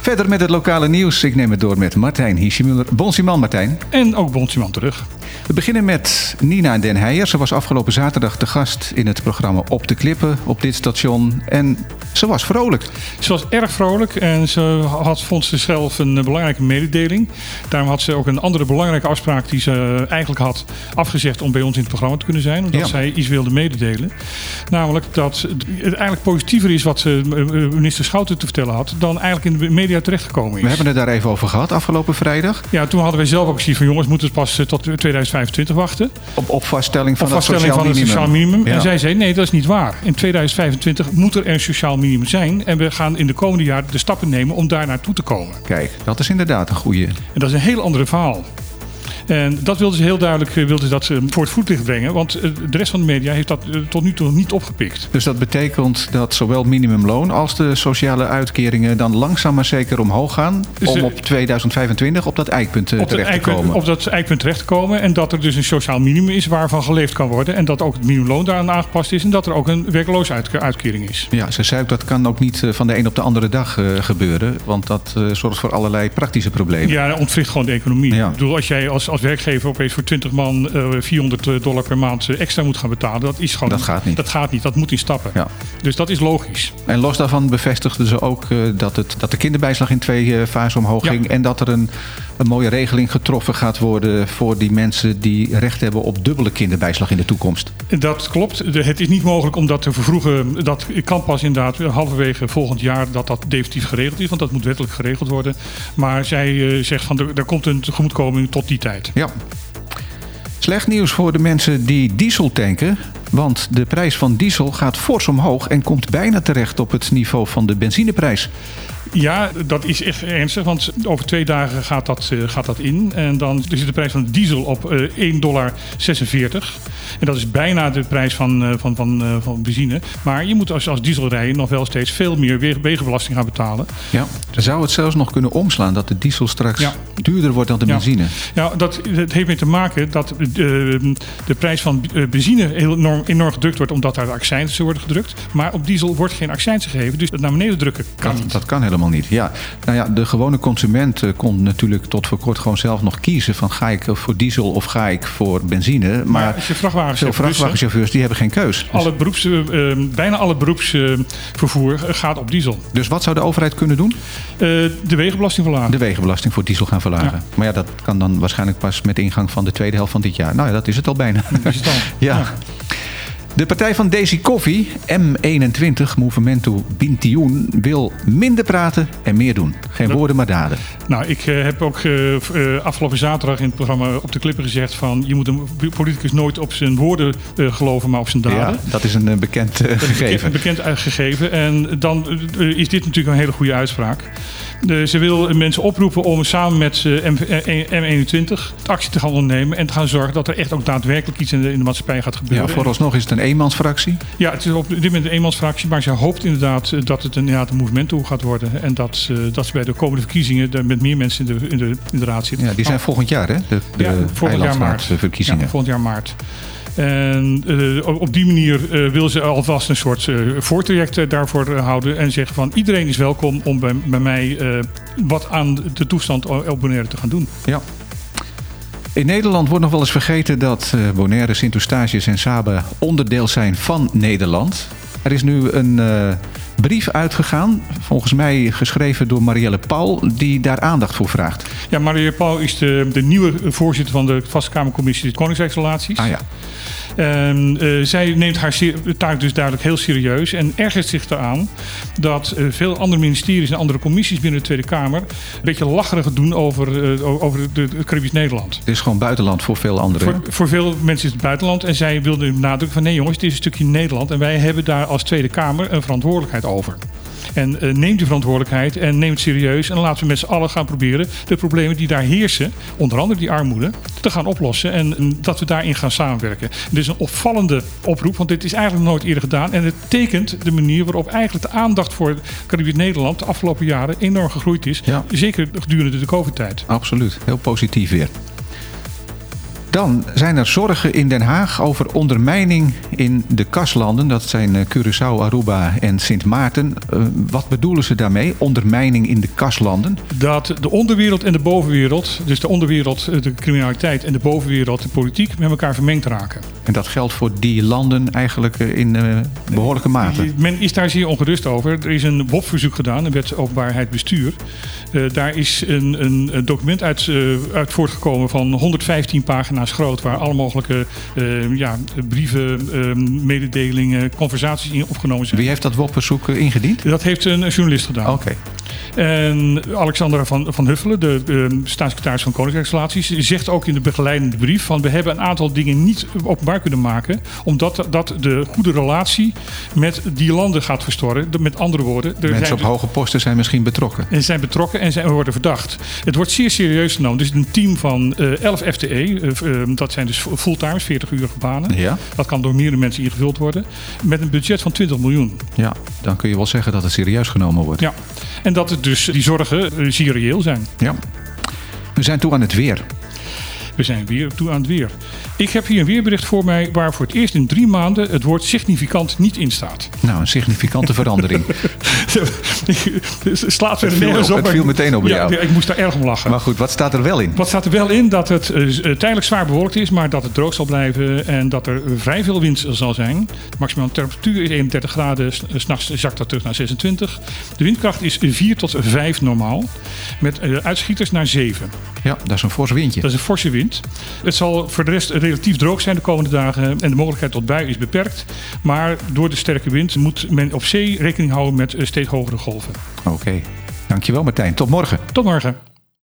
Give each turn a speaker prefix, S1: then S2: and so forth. S1: Verder met het lokale nieuws. Ik neem het door met Martijn Hiesjemuller. Bonsiman Martijn.
S2: En ook Bonsiman terug.
S1: We beginnen met Nina Den Heijer. Ze was afgelopen zaterdag de gast in het programma Op de Klippen op dit station. En ze was vrolijk.
S2: Ze was erg vrolijk en ze had, vond zichzelf een eh, belangrijke mededeling. Daarom had ze ook een andere belangrijke afspraak die ze eh, eigenlijk had afgezegd om bij ons in het programma te kunnen zijn. Omdat
S1: Ja.
S2: zij iets wilde mededelen. Namelijk dat het eigenlijk positiever is wat ze eh, minister Schouten te vertellen had dan eigenlijk in de media terechtgekomen
S1: We
S2: is.
S1: hebben het daar even over gehad afgelopen vrijdag.
S2: Ja, toen hadden wij zelf ook gezien van jongens, moeten we pas eh, tot 2025 wachten.
S1: Op, op vaststelling van
S2: Of
S1: het
S2: vaststelling
S1: sociaal
S2: van het
S1: minimum.
S2: sociaal minimum.
S1: Ja.
S2: En zij zei: nee, dat is niet waar. In 2025 moet er een sociaal minimum zijn. En we gaan in de komende jaren de stappen nemen om daar naartoe te komen.
S1: Kijk, dat is inderdaad een goede.
S2: En dat is een heel ander verhaal. En dat wilden ze heel duidelijk eh, wilden ze dat eh, voor het voetlicht brengen. Want eh, de rest van de media heeft dat eh, tot nu toe niet opgepikt.
S1: Dus dat betekent dat zowel minimumloon als de sociale uitkeringen dan langzaam maar zeker omhoog gaan.
S2: Dus
S1: om
S2: de-
S1: op 2025 op dat eikpunt eh,
S2: Op, dat
S1: terecht te
S2: eikpunt,
S1: komen.
S2: op dat eikpunt terecht te komen. En dat er dus een sociaal minimum is waarvan geleefd kan worden. En dat ook het minimumloon daaraan aangepast is. En dat er ook een werkloosheidsuitkering is.
S1: Ja, ze zei ook dat kan ook niet eh, van de een op de andere dag eh, gebeuren. Want dat eh, zorgt voor allerlei praktische problemen.
S2: Ja, dat ontwricht gewoon de economie.
S1: Ja.
S2: Ik bedoel, als jij als, als werkgever opeens voor 20 man eh, 400 dollar per maand eh, extra moet gaan betalen, dat is gewoon.
S1: Dat gaat niet.
S2: Dat gaat niet, dat moet in stappen.
S1: Ja.
S2: Dus dat is logisch.
S1: En los daarvan bevestigden ze ook eh, dat, het, dat de kinderbijslag in twee eh, fasen omhoog
S2: Ja.
S1: ging. En dat er een, een mooie regeling getroffen gaat worden voor die mensen die recht hebben op dubbele kinderbijslag in de toekomst.
S2: En Dat klopt. De- Het is niet mogelijk om dat te vervroegen. Dat kan pas inderdaad halverwege volgend jaar dat dat definitief geregeld is, want dat moet wettelijk geregeld worden. Maar zij eh, zegt van er, er komt een tegemoetkoming tot die tijd.
S1: Ja. Slecht nieuws voor de mensen die diesel tanken. Want de prijs van diesel gaat fors omhoog en komt bijna terecht op het niveau van de benzineprijs.
S2: Ja, dat is echt ernstig, want over twee dagen gaat dat, eh, gaat dat in. En dan zit de prijs van diesel op eh 1,46 dollar. En dat is bijna de prijs van, eh, van, van, eh, van benzine. Maar je moet als, als dieselrijder nog wel steeds veel meer we- wegenbelasting gaan betalen.
S1: Ja. Zou het zelfs nog kunnen omslaan dat de diesel straks
S2: Ja.
S1: duurder wordt dan de
S2: Ja.
S1: benzine?
S2: Nou, dat, dat heeft mee te maken dat eh, de prijs van eh, benzine heel enorm, enorm gedrukt wordt, omdat daar de accijnsen worden gedrukt. Maar op diesel wordt geen accijns gegeven, dus het naar beneden drukken kan
S1: Dat,
S2: niet.
S1: dat kan helemaal niet. Ja. Nou ja, de gewone consument eh, kon natuurlijk tot voor kort gewoon zelf nog kiezen van ga ik eh, voor diesel of ga ik voor benzine.
S2: Maar
S1: Maar
S2: als je vrachtwagens
S1: veel
S2: hebt, bussen-
S1: vrachtwagenchauffeurs die hebben geen keus. Dus,
S2: Alle beroeps, eh, eh, bijna alle beroepsvervoer eh, gaat op diesel.
S1: dus wat zou de overheid kunnen doen?
S2: Eh, de wegenbelasting verlagen.
S1: De wegenbelasting voor diesel gaan verlagen. Maar ja, dat kan dan waarschijnlijk pas met ingang van de tweede helft van dit jaar. Nou ja, dat is het al bijna.
S2: Is het dan?
S1: Ja. De partij van Daisy Koffie, M21, Movimento Bintiun, wil minder praten en meer doen. Geen woorden, maar daden.
S2: Nou, ik eh, heb ook eh, v- eh, afgelopen zaterdag in het programma op de klippen gezegd van je moet een politicus nooit op zijn woorden eh, geloven, maar op zijn daden.
S1: Ja, dat is een eh, bekend eh, gegeven.
S2: Bekend, bekend gegeven. En dan eh, is dit natuurlijk een hele goede uitspraak. Eh, ze wil mensen oproepen om samen met eh, M- eh, M21 actie te gaan ondernemen. En te gaan zorgen dat er echt ook daadwerkelijk iets in de, in de maatschappij gaat
S1: Ja,
S2: gebeuren.
S1: vooralsnog is het een eenmansfractie.
S2: Ja, het is op dit moment een eenmansfractie, maar ze hoopt inderdaad eh, dat het inderdaad een movimento gaat worden. En dat, eh, dat ze bij de komende verkiezingen er met meer mensen in de, in de, in de raad zitten.
S1: Ja, die zijn volgend jaar, hè? De, de
S2: Oh. Ja, volgend jaar
S1: eilandsraadsverkiezingen.
S2: Ja, volgend jaar maart. En eh, op- op die manier eh, wil ze alvast een soort eh, voortraject eh, daarvoor eh, houden. En zeggen van iedereen is welkom om bij, bij mij eh, wat aan de toestand op Bonaire te gaan doen.
S1: Ja. In Nederland wordt nog wel eens vergeten dat eh, Bonaire, Sint-Eustatius en Saba onderdeel zijn van Nederland. Er is nu een eh, brief uitgegaan, volgens mij geschreven door Marielle Paul, die daar aandacht voor vraagt.
S2: Ja, Marie Pauw is de, de nieuwe voorzitter van de Vastkamercommissie Koningsrijksrelaties.
S1: Ah ja,
S2: Ehm, eh, zij neemt haar se- taak dus duidelijk heel serieus en ergert zich eraan dat eh, veel andere ministeries en andere commissies binnen de Tweede Kamer een beetje lacherig doen over, eh, o- over de, de Caribisch Nederland.
S1: het is gewoon buitenland voor veel anderen.
S2: Voor, voor veel mensen is het buitenland en zij wilde benadrukken van nee jongens, dit is een stukje Nederland en wij hebben daar als Tweede Kamer een verantwoordelijkheid over. En eh neem die verantwoordelijkheid en neem het serieus en laten we met z'n allen gaan proberen de problemen die daar heersen, onder andere die armoede, te gaan oplossen en mm, dat we daarin gaan samenwerken. Dit is een opvallende oproep, want dit is eigenlijk nooit eerder gedaan en het tekent de manier waarop eigenlijk de aandacht voor Caribisch Nederland de afgelopen jaren enorm gegroeid is,
S1: Ja.
S2: zeker gedurende de COVID-tijd.
S1: Absoluut, heel positief weer. Dan zijn er zorgen in Den Haag over ondermijning in de kaslanden. Dat zijn eh, Curaçao, Aruba en Sint Maarten. Eh, wat bedoelen ze daarmee? Ondermijning in de kaslanden?
S2: dat de onderwereld en de bovenwereld, dus de onderwereld, eh, de criminaliteit en de bovenwereld, de politiek, met elkaar vermengd raken.
S1: En dat geldt voor die landen eigenlijk eh, in eh, behoorlijke mate.
S2: Men is daar zeer ongerust over. Er is een WOP-verzoek gedaan, een wet openbaarheid bestuur. Eh, daar is een, een, een document uit, eh, uit voortgekomen van 115 pagina's groot, waar alle mogelijke eh, ja, brieven, eh, mededelingen, conversaties in opgenomen zijn.
S1: Wie heeft dat WOP-verzoek eh, ingediend?
S2: Dat heeft een journalist gedaan.
S1: Oké.
S2: En Alexandra van, van Huffelen, de eh, staatssecretaris van Koninkrijksrelaties, zegt ook in de begeleidende brief van we hebben een aantal dingen niet openbaar kunnen maken, omdat dat de goede relatie met die landen gaat verstoren. De- Met andere woorden, er
S1: Mensen
S2: zijn,
S1: op hoge posten zijn misschien betrokken.
S2: en zijn betrokken en zijn worden verdacht. Het wordt zeer serieus genomen. Dus een team van eh 11 FTE, eh, v- eh, dat zijn dus fulltimes, 40-urige banen.
S1: Ja?
S2: Dat kan door meerdere mensen ingevuld worden. Met een budget van 20 miljoen.
S1: ja, dan kun je wel zeggen dat het serieus genomen wordt.
S2: Ja. En dat het dus die zorgen eh, zeer reëel zijn.
S1: Ja. We zijn toe aan het weer.
S2: We zijn weer toe aan het weer. Ik heb hier een weerbericht voor mij waar voor het eerst in drie maanden het woord significant niet in staat.
S1: Nou, een significante verandering.
S2: Het Slaat er
S1: Het viel op,
S2: nergens op.
S1: het
S2: maar-
S1: viel meteen op bij
S2: ja,
S1: jou.
S2: ja, ik moest daar erg om lachen.
S1: Maar goed, wat staat er wel in?
S2: Wat staat er wel in? Dat het eh, z- eh, tijdelijk zwaar bewolkt is, maar dat het droog zal blijven en dat er vrij veel wind zal zijn. De maximale temperatuur is 31 graden, S- eh, s'nachts zakt dat terug naar 26. De windkracht is 4 tot 5 normaal, met eh, uitschieters naar 7.
S1: Ja, dat is een fors windje.
S2: Dat is een forse wind. Het zal voor de rest relatief droog zijn de komende dagen en de mogelijkheid tot bui is beperkt. Maar door de sterke wind moet men op zee rekening houden met eh, steeds hogere golven.
S1: Oké. Dankjewel Martijn. Tot morgen.
S2: Tot morgen.